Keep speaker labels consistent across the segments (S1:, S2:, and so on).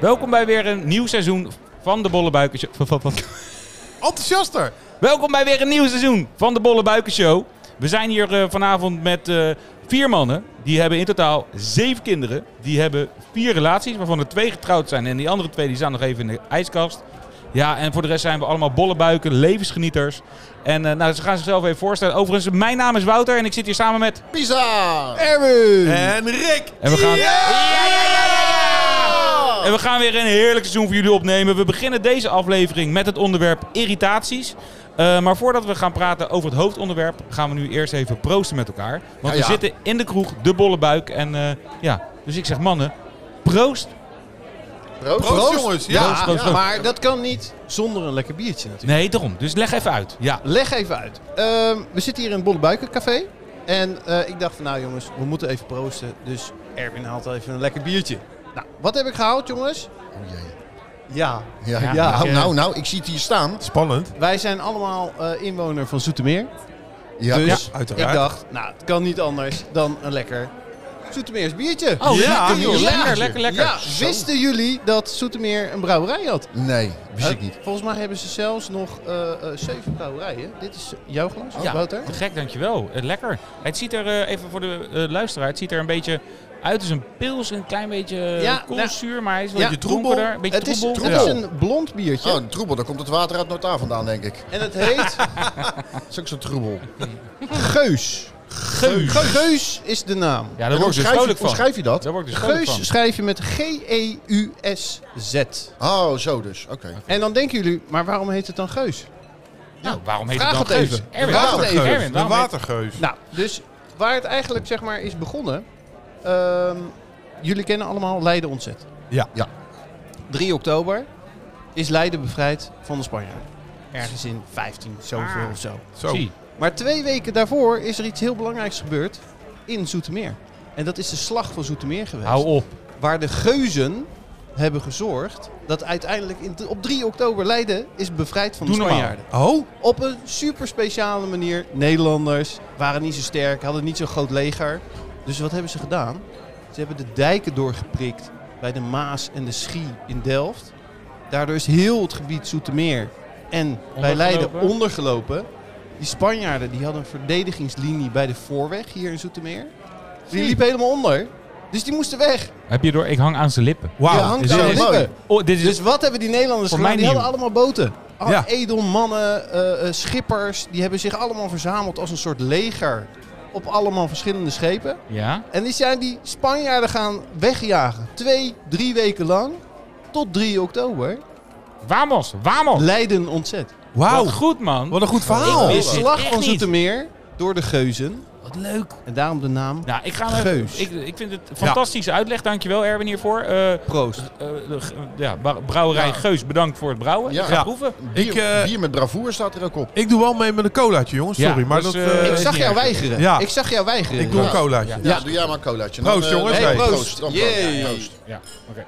S1: Welkom bij weer een nieuw seizoen van de Bolle Buiken Show. Van- van- van-
S2: Enthousiaster!
S1: Welkom bij weer een nieuw seizoen van de Bolle Buiken Show. We zijn hier eh, vanavond met eh, vier mannen. Die hebben in totaal zeven kinderen. Die hebben vier relaties, waarvan er twee getrouwd zijn. En die andere twee die staan nog even in de ijskast. Ja, en voor de rest zijn we allemaal bolle buiken, levensgenieters. En eh, nou, ze gaan zichzelf even voorstellen. Overigens, mijn naam is Wouter en ik zit hier samen met...
S2: Pisa!
S3: Erwin!
S2: En Rick!
S1: En we gaan...
S2: Ja!
S1: En we gaan weer een heerlijk seizoen voor jullie opnemen. We beginnen deze aflevering met het onderwerp irritaties. Eh, maar voordat we gaan praten over het hoofdonderwerp, gaan we nu eerst even proosten met elkaar. Want
S2: Ja, ja.
S1: we zitten in de kroeg, de bolle buik. En eh, ja, dus ik zeg mannen, proost.
S2: Proost, jongens! Ja,
S1: Proost, proost,
S2: ja.
S1: proost.
S3: Maar dat kan niet zonder een lekker biertje natuurlijk.
S1: Nee, daarom. Dus leg even uit. Ja.
S3: Leg even uit. Ehm, we zitten hier in het Bollebuikencafé. En eh, ik dacht van nou jongens, we moeten even proosten. Dus Erwin haalt even een lekker biertje. Nou, wat heb ik gehaald jongens?
S2: Oh, jee.
S3: Ja,
S2: Ja,
S3: Ja,
S2: nou,
S3: ik, eh,
S2: nou, nou, ik zie het hier staan. Spannend.
S3: wij zijn allemaal eh, inwoner van Zoetermeer.
S2: Ja,
S3: Dus
S2: ja.
S3: ik dacht, nou het kan niet anders dan een lekker Zoetermeers biertje.
S1: Oh,
S2: Ja,
S1: lekker, joh.
S2: ja.
S1: lekker, lekker, lekker.
S3: Ja, wisten jullie dat Zoetermeer een brouwerij had?
S2: Nee, wist ik
S3: Eh,
S2: niet.
S3: Volgens mij hebben ze zelfs nog eh, eh, zeven brouwerijen. Dit is jouw glas,
S1: Ja,
S3: Wouter.
S1: te gek, dankjewel. Eh, lekker. Het ziet er, eh, even voor de eh, luisteraar, het ziet er een beetje uit als een pils. Een klein beetje eh,
S3: Ja,
S1: koolzuur, maar hij is wel
S3: ja,
S1: een beetje troebelder. Een beetje
S3: het, is,
S1: troebel.
S3: het is
S1: Ja.
S3: een blond biertje.
S2: Oh, een troebel, daar komt het water uit Noord-A vandaan, denk ik.
S3: En het heet
S2: Dat is ook zo'n troebel.
S3: Geus.
S1: Geus.
S3: Geus is de naam.
S1: Ja, daar
S2: En hoe
S1: word ik dus
S2: schrijf, je,
S1: vrolijk
S2: hoe
S1: van.
S2: schrijf je dat?
S1: Daar word ik dus vrolijk van.
S3: Geus schrijf je met G-E-U-S-Z.
S2: Oh, zo dus. Oké.
S3: En dan denken jullie, maar waarom heet het dan Geus?
S1: Nou, waarom heet
S3: vraag
S1: het dan
S3: het
S1: Geus?
S3: even.
S1: Erwin,
S3: Vraag
S1: waarom
S3: het
S1: heet-
S3: even.
S1: Erwin, waarom heet-
S4: watergeus.
S3: Nou, dus waar het eigenlijk zeg maar is begonnen. ehm, jullie kennen allemaal Leiden ontzet.
S4: Ja.
S2: Ja.
S3: 3 oktober is Leiden bevrijd van de Spanjaarden. Ergens in 15 zoveel
S1: Ah.
S3: of zo.
S4: Zo.
S1: Zie.
S3: Maar twee weken daarvoor is er iets heel belangrijks gebeurd in Zoetermeer. En dat is de slag van Zoetermeer geweest.
S1: Hou op.
S3: Waar de geuzen hebben gezorgd dat uiteindelijk in, op 3 oktober Leiden is bevrijd van
S1: Doe
S3: de
S1: normaal.
S3: Spanjaarden.
S4: Oh,
S3: Op een super speciale manier. Nederlanders waren niet zo sterk, hadden niet zo'n groot leger. Dus wat hebben ze gedaan? Ze hebben de dijken doorgeprikt bij de Maas en de Schie in Delft. Daardoor is heel het gebied Zoetermeer en bij Leiden
S1: Ondergelopen.
S3: ondergelopen. Die Spanjaarden die hadden een verdedigingslinie bij de voorweg hier in Zoetermeer. Die liep helemaal onder. Dus die moesten weg.
S1: Heb je door, ik hang aan zijn lippen.
S3: Die
S4: wauw.
S3: hangt
S2: dit
S3: aan
S2: is
S3: de
S2: mooi.
S3: lippen.
S1: Oh, dit is
S3: Dus wat hebben die Nederlanders
S1: Voor
S3: gedaan?
S1: mij
S3: Die hadden
S1: nieuw.
S3: allemaal boten. Al-
S4: Ja.
S3: Edelmannen, eh, eh, schippers, die hebben zich allemaal verzameld als een soort leger op allemaal verschillende schepen.
S1: Ja?
S3: En die zijn die Spanjaarden gaan wegjagen. Twee, drie weken lang. Tot 3 oktober.
S1: Wamos, Wamos.
S3: Leiden ontzet.
S4: Wauw.
S1: Wat goed, man.
S4: Wat een goed verhaal.
S1: Ik
S3: De
S1: wist dit
S3: slag
S1: echt
S3: van
S1: niet.
S3: Zoetermeer door de geuzen.
S1: Wat leuk.
S3: En daarom de naam
S1: Nou, ik ga hem
S3: Geus.
S1: even... Ik, ik vind het een fantastische uitleg. Dankjewel, Erwin, hiervoor. Eh, eh,
S3: Proost.
S1: de g- ja, ba- brouwerij
S2: Ja.
S1: Geus, bedankt voor het brouwen.
S2: Ja.
S1: Ik ga
S4: Ja.
S1: proeven.
S2: Bier,
S4: Ik, eh,
S2: bier met bravoer staat er ook op.
S4: Ik doe wel mee met een colaatje, jongens.
S1: Ja,
S4: Sorry, maar
S1: dus,
S4: dat...
S1: eh,
S4: eh,
S3: Ik
S1: is
S3: zag
S1: niet
S3: jou
S1: erg.
S3: weigeren.
S4: Ja.
S3: Ik zag jou weigeren.
S4: ik doe een
S2: Ja.
S4: colaatje.
S1: Ja.
S2: Ja, doe jij maar een colaatje. Dan,
S4: Proost,
S2: eh,
S4: jongens.
S2: dan-
S4: Hey,
S2: proost.
S3: proost.
S2: Dan-
S3: Jee.
S2: Ja, proost.
S1: Ja, oké.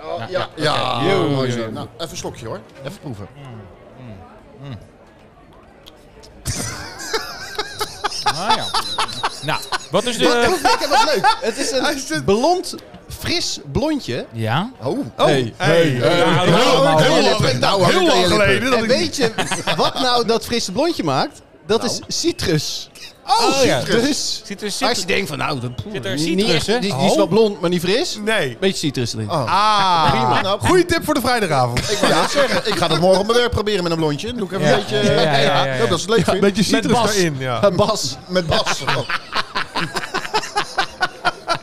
S2: Oh,
S1: Ja,
S2: ja,
S1: ja,
S2: ja.
S1: oké.
S2: Yo.
S1: Yo.
S2: Mooi zo. Nou, even een slokje hoor. Even proeven.
S1: Nou ja. Nou, wat is
S3: Wat
S1: de...
S3: proef ik en wat leuk. Het is een blond, fris blondje.
S1: Ja?
S2: Oh.
S3: Hey.
S4: Hey.
S1: Ja,
S2: Nou,
S1: Eh, heel lang-
S2: heel
S3: heel
S2: lang- nou,
S4: Heel
S2: hou ik aan
S4: lang
S2: je lippen.
S4: geleden. dat
S3: En
S4: ik-
S3: weet je wat nou dat frisse blondje maakt? Dat
S2: Nou.
S3: is citrus.
S1: Oh, ja.
S3: Dus
S1: Zit er, zit
S3: als je denkt van nou, dat
S1: Zit er
S3: niet
S1: citrus,
S3: echt-
S1: hè?
S3: Die, die is wel
S4: Oh.
S3: blond, maar niet fris.
S4: Nee.
S3: Beetje citrus erin.
S2: Oh.
S4: Ah.
S2: Prima. Nou,
S4: Goeie tip voor de vrijdagavond.
S2: Ik wou net zeggen, ik ga dat morgen op mijn werk proberen met een blondje. Dan Doe ik even
S1: Ja.
S2: een beetje...
S1: Ja, ja, ja, ja.
S2: Ja, dat is leuk
S4: Een
S2: vind.
S4: beetje citrus
S3: Bas.
S4: daarin, ja.
S3: Bas.
S2: Met Bas. Oh.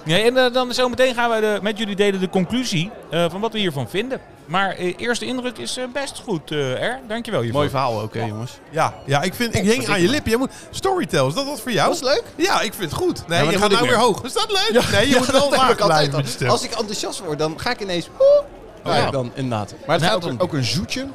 S1: Ja, en eh, dan zometeen gaan we de, met jullie delen de conclusie eh, van wat we hiervan vinden. Maar eh, eerste indruk is eh, best goed, eh R. Dankjewel hiervoor.
S3: Mooi verhaal ook, hè, jongens.
S4: Ja, ja ik,
S3: Oh,
S4: vind, ik hing aan je lippen. Jij moet... Storytel, is dat wat voor jou?
S3: Was leuk?
S4: Ja, ik vind het goed. Nee,
S3: Ja, maar
S4: je
S3: dat
S4: gaat
S3: moet
S4: nou
S3: ik
S4: weer
S3: weer.
S4: hoog. Is dat leuk? Nee, je
S3: Ja,
S4: moet wel
S3: dat heb ik
S4: wagen
S3: altijd
S4: blijven
S3: al.
S4: met je stem.
S3: Als ik enthousiast word, dan ga ik ineens... Oeh,
S2: Oh, ja.
S3: dan inderdaad. Maar
S1: Nou,
S3: het gaat om...
S2: Ook een zoetje.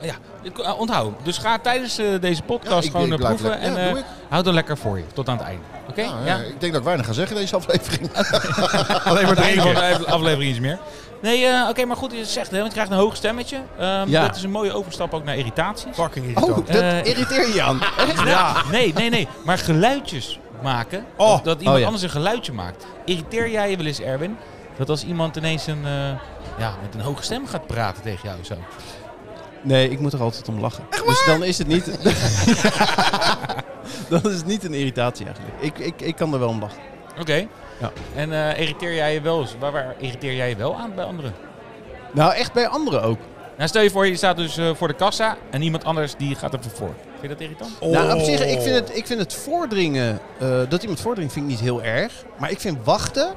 S1: Ja, ik, eh, onthoud hem. Dus ga tijdens eh, deze podcast
S2: Ja, ik-
S1: gewoon
S2: ik
S1: eh,
S2: blijf
S1: proeven.
S2: lekker.
S1: En
S2: Ja,
S1: eh,
S2: doe ik.
S1: houd hem lekker voor je, tot aan het einde. Oké?
S2: Ja,
S1: ja.
S2: ja, Nou, eh, Ik denk dat ik weinig ga zeggen deze aflevering.
S4: Alleen maar
S1: Einde
S4: drinken.
S1: van de aflevering iets meer. Nee, eh, oké, maar goed dat je het zegt, hè, want je krijgt een hoog stemmetje. Ehm,
S3: Ja.
S1: Dat is een mooie overstap ook naar irritaties.
S4: Fucking
S3: Oh,
S4: irritant.
S3: dat
S1: Eh,
S3: irriteer je aan.
S4: Ja.
S1: Nee, nee, nee. Maar geluidjes maken.
S4: Oh.
S1: Dat, dat iemand
S3: Oh, ja.
S1: anders een geluidje maakt. Irriteer jij je wel eens, Erwin? Dat als iemand ineens een, eh, ja, met een hoge stem gaat praten tegen jou zo.
S3: Nee, ik moet er altijd om lachen. Dus dan is het niet. dan is het niet een irritatie eigenlijk. Ik, ik, ik kan er wel om lachen.
S1: Oké.
S3: Ja.
S1: En eh, irriteer jij je wel eens? Waar, waar irriteer jij je wel aan bij anderen?
S3: Nou, echt bij anderen ook.
S1: Nou, stel je voor, je staat dus eh, voor de kassa en iemand anders die gaat er voor. Vind je dat irritant?
S3: Nou, op zich, ik vind
S4: Oh.
S3: het, ik vind het voordringen, eh, dat iemand voordringt, vind ik niet heel erg. Maar ik vind wachten,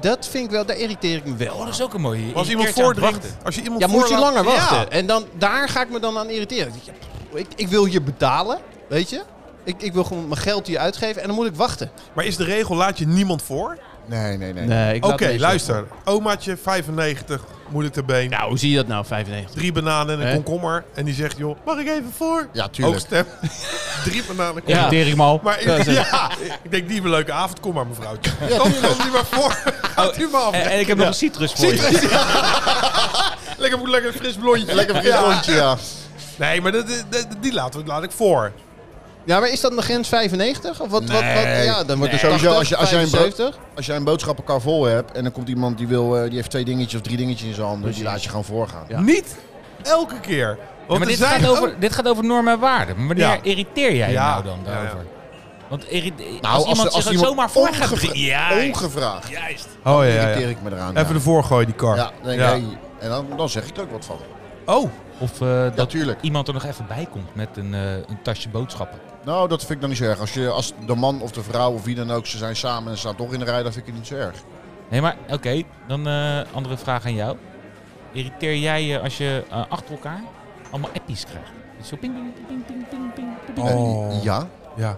S3: dat vind ik wel, daar irriteer ik me wel.
S1: Oh,
S3: aan.
S1: dat is ook een mooie. Je
S4: Als iemand
S1: irriteert je aan het
S4: voordringt.
S1: wachten.
S4: Als je iemand
S3: Ja, moet je
S4: voorlaat-
S3: langer wachten.
S4: Ja.
S3: En dan, daar ga ik me dan aan irriteren. Ik, denk, ja, ik, ik wil hier betalen, weet je? Ik, ik wil gewoon mijn geld hier uitgeven en dan moet ik wachten.
S4: Maar is de regel, laat je niemand voor?
S2: Nee, nee, nee.
S3: Nee, ik
S4: Oké, luister. Omaatje, 95, moeilijk te been.
S3: Nou, hoe zie je dat nou, 95?
S4: Drie bananen en een
S3: Hè?
S4: komkommer. En die zegt, joh, mag ik even voor?
S2: Ja,
S4: Ook
S2: tuurlijk.
S4: stem. Drie bananen.
S1: Ja.
S4: komkommer.
S1: Irriteer ik me al.
S4: Maar ik, ja, ik denk, die hebben een leuke avond. Kom maar, mevrouw. Kom, kom niet maar voor.
S3: Oh.
S4: Houdt u maar af.
S1: En, en ik heb nog een citrus voor je.
S4: Lekker, moet lekker een fris blondje.
S2: Lekker fris rondje, ja.
S4: Nee, maar dat, dat- die laat, laat ik voor.
S3: Ja, maar is dat de grens 95? Of wat, wat, wat, ja, dan wordt het
S2: Dus Sowieso,
S3: 80,
S2: als je- als jij een brood-
S3: 75.
S2: Als jij een boodschappenkar vol hebt en dan komt iemand die, wil, eh, die heeft twee dingetjes of drie dingetjes in zijn handen, die laat je gewoon voorgaan.
S3: Ja.
S4: Niet elke keer.
S1: Ja,
S4: Want
S1: maar
S4: er
S1: dit
S4: zijn
S1: gaat, over,
S4: ook-
S1: dit gaat over normen en waarden. Maar wanneer
S4: Ja.
S1: irriteer jij je
S4: Ja.
S1: nou dan
S4: Ja, ja.
S1: daarover? Want irrite-
S2: Nou,
S1: als, iemand zich ook zomaar voor gaat
S2: ongevra-
S1: dringen- Juist.
S2: Ongevraagd.
S1: Juist.
S4: Oh ja, ja,
S2: irriteer
S4: ja.
S2: ik me eraan.
S4: Even ervoor gooien, die kar.
S2: Ja, dan denk ik,
S4: Ja.
S2: hey, en dan, dan zeg ik er ook wat van.
S4: Oh,
S1: Of eh, dat
S2: tuurlijk.
S1: iemand er nog even bij komt met een, eh, een tasje boodschappen.
S2: Nou, dat vind ik dan niet zo erg. Als, je, als de man of de vrouw of wie dan ook, ze zijn samen en staan toch in de rij, dan vind ik het niet zo erg.
S1: Nee, maar oké. dan eh, andere vraag aan jou. Irriteer jij je als je eh, achter elkaar allemaal appies krijgt? Zo ping, ping, ping, ping, ping, ping, ping, ping.
S4: Oh.
S2: Ja,
S4: ja.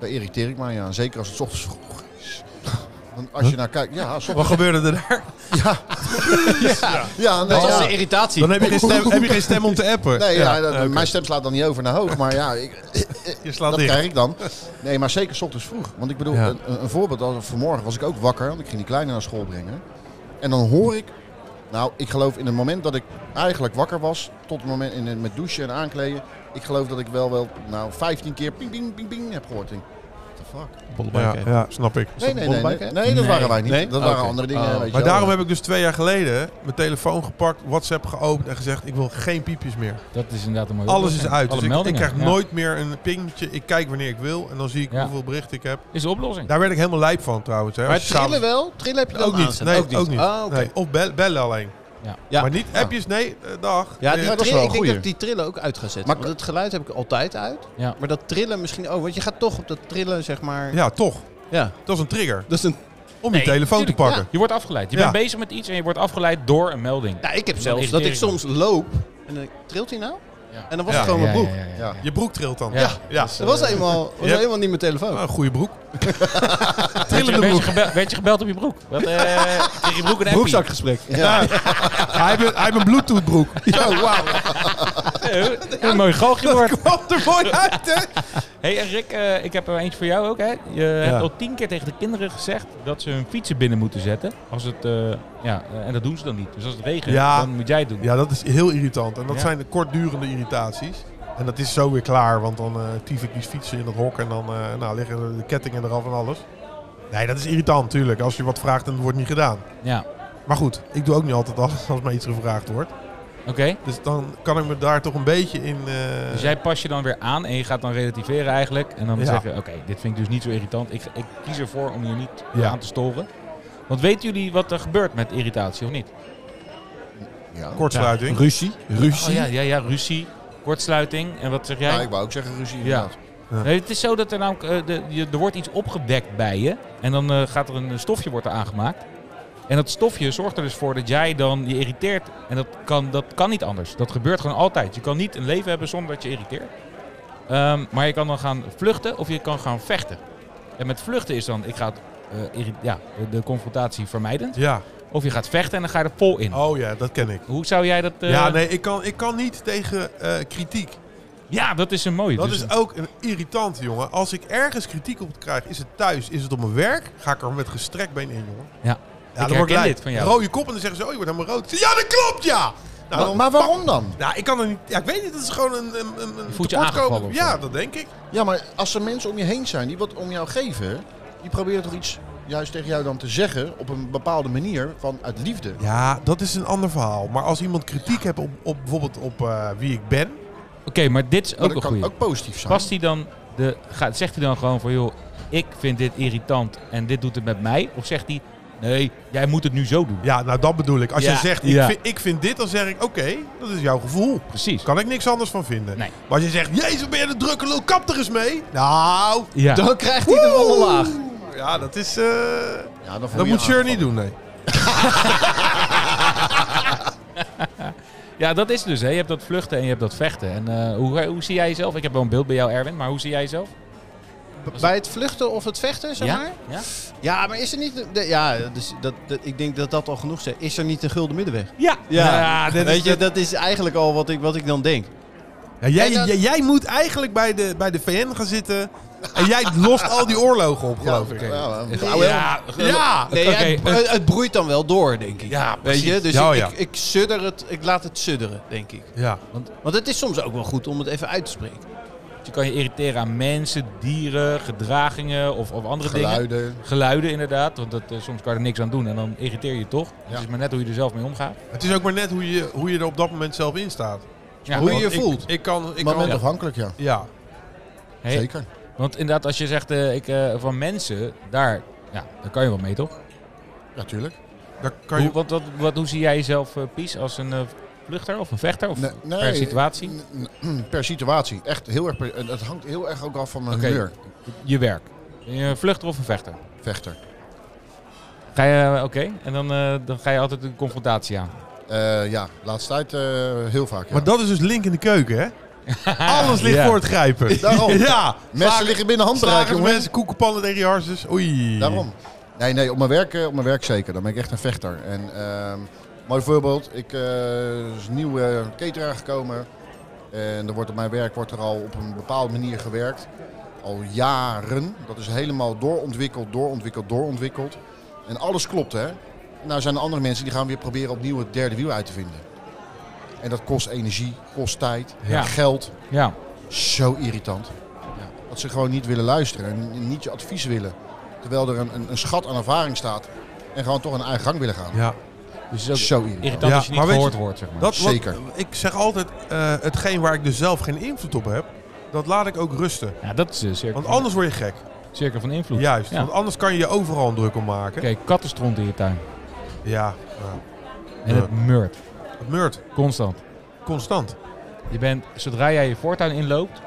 S2: daar irriteer ik mij aan. Zeker als het 's ochtends vroeg is. Want als je naar kijkt, ja, soms.
S4: Wat gebeurde er daar?
S2: Ja, ja, nee,
S3: Dat is
S2: ja.
S3: de irritatie.
S4: Dan heb je geen stem, heb je geen stem om te appen.
S2: Nee, ja, dat-
S4: oké.
S2: mijn stem slaat dan niet over naar hoog, maar ja, ik,
S4: Je slaat
S2: dat
S4: dicht.
S2: krijg ik dan. Nee, maar zeker 's ochtends vroeg. Want ik bedoel,
S4: Ja.
S2: een, een- een voorbeeld, als- vanmorgen was ik ook wakker, want ik ging die kleine naar school brengen. En dan hoor ik, nou, ik geloof in het moment dat ik eigenlijk wakker was, tot het moment in, het- met douchen en aankleden, ik geloof dat ik wel, wel nou, 15 keer ping, ping, ping, ping heb gehoord. Ik denk, what the fuck?
S4: Ja,
S3: Bollebuik, hè?
S4: ja, snap ik.
S2: Nee, nee, nee,
S3: Bollenbuik,
S2: nee,
S3: hè?
S2: nee, dat waren wij niet.
S3: Nee?
S2: Dat waren
S3: Oké.
S2: andere dingen,
S3: Oh.
S2: weet je
S4: Maar
S2: wel.
S4: daarom heb ik dus twee jaar geleden mijn telefoon gepakt, WhatsApp geopend en gezegd: Ik wil geen piepjes meer.
S1: Dat is inderdaad een mooie
S4: Alles is
S1: oplossing.
S4: uit.
S1: Alle
S4: Dus ik, ik
S1: meldingen,
S4: krijg
S1: ja.
S4: nooit meer een pingetje. Ik kijk wanneer ik wil en dan zie ik
S1: Ja.
S4: hoeveel berichten ik heb.
S1: Is de oplossing.
S4: Daar werd ik helemaal lijp van trouwens. Hè.
S3: Maar
S4: Als je samen-
S3: trillen wel? Trillen heb je dan
S4: Ook niet.
S3: aanstaan?
S4: Nee, ook niet.
S3: Ah, oké.
S4: Nee, Of bel- bellen alleen.
S1: Ja.
S3: Ja.
S4: Maar niet appjes, nee, eh, dag.
S3: Ja,
S4: Eh,
S3: die
S2: Ja, dat is
S3: trill-
S2: wel een
S3: ik denk dat
S2: goeie.
S3: ik die trillen ook uit ga zetten.
S2: Maar-
S3: want het geluid heb ik altijd uit.
S1: Ja.
S3: Maar dat trillen misschien ook. Want je gaat toch op dat trillen, zeg maar.
S4: ja, toch.
S3: Ja.
S4: Dat is een trigger
S3: Dat is een...
S4: om
S1: Nee,
S4: je telefoon te
S1: tuurlijk,
S4: pakken.
S1: Je wordt afgeleid. Je
S4: Ja.
S1: bent bezig met iets en je wordt afgeleid door een melding.
S3: Nou, ik heb
S1: Dan
S3: zelfs dat ik
S1: irriteer ik
S3: soms loop. En dan trilt hij nou?
S1: Ja.
S3: En dan was
S4: Ja,
S3: het gewoon
S1: Ja,
S3: mijn broek.
S1: ja, ja, ja, ja.
S4: Je broek trilt dan.
S1: Ja.
S4: ja.
S3: Dat was helemaal, was
S4: Ja.
S3: helemaal niet mijn telefoon.
S4: Nou, een goede broek.
S1: Werd je,
S4: Trillende
S1: werd je
S4: broek.
S1: gebeld, werd je gebeld op je broek? Wat, eh, kreeg je broek een appie?
S3: Broekzakgesprek.
S2: Ja.
S4: Hij heeft een- hij heeft een Bluetooth broek.
S2: Oh, wauw.
S1: Eh, een mooi galgje wordt.
S4: Kwam er mooi uit, hè?
S1: hey, en Rick, eh, ik heb er eentje voor jou ook. Hè? Je hebt al tien keer tegen de kinderen gezegd dat ze hun fietsen binnen moeten zetten. Als het, eh, ja, eh, en dat doen ze dan niet. Dus als het regent,
S4: Ja.
S1: dan moet jij het doen.
S4: Ja, dat is heel irritant. En dat
S1: Ja.
S4: zijn de kortdurende irritaties. En dat is zo weer klaar, want dan eh tief ik die fietsen in dat hok en dan eh, nou, liggen de kettingen eraf en alles. Nee, dat is irritant, tuurlijk. Als je wat vraagt en het wordt niet gedaan.
S1: Ja.
S4: Maar goed, ik doe ook niet altijd alles als mij iets gevraagd wordt.
S1: Oké,
S4: Dus dan kan ik me daar toch een beetje in... eh,
S1: dus jij pas je dan weer aan en je gaat dan relativeren eigenlijk. En dan
S4: Ja.
S1: zeggen, oké, dit vind ik dus niet zo irritant. Ik, ik kies ervoor om hier niet
S4: Ja.
S1: aan te storen. Want weten jullie wat er gebeurt met irritatie of niet?
S2: Ja.
S4: Kortsluiting.
S3: Ruzie. Nou,
S1: Oh, ja, ja, ja, ruzie, kortsluiting. En wat zeg jij?
S2: Ja, ik wou ook zeggen ruzie.
S1: Ja.
S2: inderdaad.
S1: Nee, het is zo dat er namelijk, eh, de, je- er wordt iets opgewekt bij je. En dan eh, gaat er een eh, stofje wordt er aangemaakt. En dat stofje zorgt er dus voor dat jij dan je irriteert. En dat kan, dat kan niet anders. Dat gebeurt gewoon altijd. Je kan niet een leven hebben zonder dat je irriteert. Ehm, maar je kan dan gaan vluchten of je kan gaan vechten. En met vluchten is dan, ik ga het, eh, irri- ja, de confrontatie vermijden.
S4: Ja.
S1: Of je gaat vechten en dan ga je er vol in.
S4: Oh ja, dat ken ik.
S1: Hoe zou jij dat... eh,
S4: Ja, nee, ik kan, ik kan niet tegen eh, kritiek.
S1: ja, dat is een mooie.
S4: Dat
S1: Dus
S4: is ook een irritant, jongen. Als ik ergens kritiek op krijg, is het thuis, is het op mijn werk, ga ik er met gestrekt been in, jongen.
S1: Ja.
S4: Ja,
S1: Ik
S4: dan word
S1: herken
S4: ik
S1: dit van jou.
S4: Rode kop en dan zeggen ze, oh, je wordt helemaal rood. Ik zeg, Ja, dat klopt, ja! Nou,
S2: Maar,
S4: dan-
S2: maar waarom dan?
S4: nou, ik kan er niet... Ja, ik weet niet, dat is gewoon een... een, een een
S1: voelt je
S4: tekortkoming.
S1: aangevallen of zo.
S4: Ja, dat denk ik.
S2: Ja, maar als er mensen om je heen zijn die wat om jou geven, die proberen toch iets juist tegen jou dan te zeggen op een bepaalde manier van uit liefde.
S4: Ja, dat is een ander verhaal. Maar als iemand kritiek hebt op, op bijvoorbeeld op eh, wie ik ben,
S1: Oké, maar dit is
S2: Maar
S1: ook een
S2: dat
S1: goeie.
S2: kan ook positief zijn.
S1: Past hij dan de, gaat, zegt hij dan gewoon van joh, ik vind dit irritant en dit doet het met mij? Of zegt hij, nee, jij moet het nu zo doen?
S4: ja, nou dat bedoel ik. Als
S1: Ja,
S4: je zegt, ik,
S1: ja.
S4: vind, ik vind dit, dan zeg ik, oké, dat is jouw gevoel.
S1: Precies.
S4: Kan ik niks anders van vinden.
S1: Nee.
S4: Maar als je zegt, jezus, ben je de drukke lul, kap er eens mee. Nou,
S1: Ja.
S3: Dan krijgt hij de volle laag.
S4: ja, dat is... eh,
S2: Ja, dan voel
S4: dat
S2: je
S4: moet
S2: je
S4: Sher niet doen,
S2: aangevallen.
S4: nee.
S1: ja, dat is het dus. Hè. Je hebt dat vluchten en je hebt dat vechten. En eh, hoe, hoe zie jij jezelf? Ik heb wel een beeld bij jou, Erwin, maar hoe zie jij jezelf?
S3: Bij het vluchten of het vechten, zeg maar?
S1: ja? ja?
S3: Ja, maar is er niet... de- ja, dus dat, dat- ik denk dat dat al genoeg is. Is er niet de gulden middenweg?
S1: Ja, dit
S3: Weet
S1: is
S3: je,
S1: het.
S3: dat is eigenlijk al wat ik, wat ik dan denk.
S4: Ja, jij,
S3: En dat-
S4: jij, jij moet eigenlijk bij de, bij de VN gaan zitten. En jij lost al die oorlogen op, geloof ik.
S2: Ja, ja,
S1: Ja,
S3: Oh,
S1: ja,
S4: Ja!
S3: Nee,
S1: Oké,
S3: ja, het,
S1: eh,
S3: het- het broeit dan wel door, denk ik.
S4: Ja,
S3: Weet je,
S4: precies.
S3: dus
S4: Ja,
S3: ik,
S4: ja.
S3: Ik, ik, sudder het, ik laat het sudderen, denk ik.
S4: Ja.
S3: Want het is soms ook wel goed om het even uit te spreken.
S1: Je kan je irriteren aan mensen, dieren, gedragingen of, of andere dingen.
S2: Geluiden.
S1: Geluiden inderdaad, want dat, eh, soms kan je er niks aan doen en dan irriteer je toch.
S2: Ja.
S1: Het is maar net hoe je er zelf mee omgaat.
S4: Het is ook maar net hoe je, hoe je er op dat moment zelf in staat.
S1: Ja,
S3: Hoe
S1: want-
S3: je je
S4: Ik-
S3: voelt.
S4: Ik kan... Ik kan
S2: Moment afhankelijk, ja.
S4: ja.
S1: Hey,
S2: Zeker.
S1: Want inderdaad, als je zegt eh, ik, eh, van mensen, daar, ja, daar kan je wel mee toch?
S2: Ja, tuurlijk.
S4: Daar kan je,
S1: Hoe, wat, wat, wat, hoe zie jij jezelf, eh, Pies, als een eh, vluchter of een vechter of
S2: Nee, nee,
S1: per situatie?
S2: N- n- Per situatie. Echt heel erg. Per, het hangt heel erg ook af van mijn
S1: Oké.
S2: humeur.
S1: Je werk. Ben je een vluchter of een vechter?
S2: Vechter.
S1: Ga je, eh, oké, en dan, eh, dan ga je altijd een confrontatie aan.
S2: Eh, ja, laatste tijd eh, heel vaak. Ja.
S4: Maar dat is dus link in de keuken, hè? Alles ligt
S1: Ja.
S4: voor het grijpen.
S2: Daarom.
S4: Ja.
S2: Messen
S4: Slagen-
S2: liggen binnen handbereik,
S4: Slagers,
S2: jongen.
S4: mensen, koekenpannen tegen je harses. Oei.
S2: Daarom. Nee, nee, op mijn werk, eh, op mijn werk zeker. Dan ben ik echt een vechter. En ehm mooi voorbeeld. Ik eh, is een nieuwe cateraar gekomen. En er wordt op mijn werk wordt er al op een bepaalde manier gewerkt. Al jaren. Dat is helemaal doorontwikkeld, doorontwikkeld, doorontwikkeld. En alles klopt, hè. Nou zijn er andere mensen die gaan weer proberen opnieuw het derde wiel uit te vinden. En dat kost energie, kost tijd,
S1: Ja.
S2: geld.
S1: Ja,
S2: Zo irritant. Dat ze gewoon niet willen luisteren en niet je advies willen. Terwijl er een, een, een schat aan ervaring staat en gewoon toch een eigen gang willen gaan.
S4: Ja.
S1: dus het is ook
S2: Zo irritant.
S1: irritant
S4: Ja,
S1: als je niet
S4: maar weet je-
S1: gehoord wordt, zeg maar.
S4: Dat, wat-
S2: Zeker.
S4: ik zeg altijd, eh, hetgeen waar ik dus zelf geen invloed op heb, dat laat ik ook rusten.
S1: ja, dat is de cirkel,
S4: Want
S1: van-
S4: anders word je gek.
S1: cirkel van invloed.
S4: Juist.
S1: Ja.
S4: Want
S1: Oké,
S4: anders kan je je overal een druk om maken.
S1: kattenstront in je tuin.
S4: Ja. ja.
S1: En
S4: Ja.
S1: het meurt.
S4: Het meurt.
S1: Constant.
S4: Constant.
S1: Je bent, zodra jij je voortuin inloopt,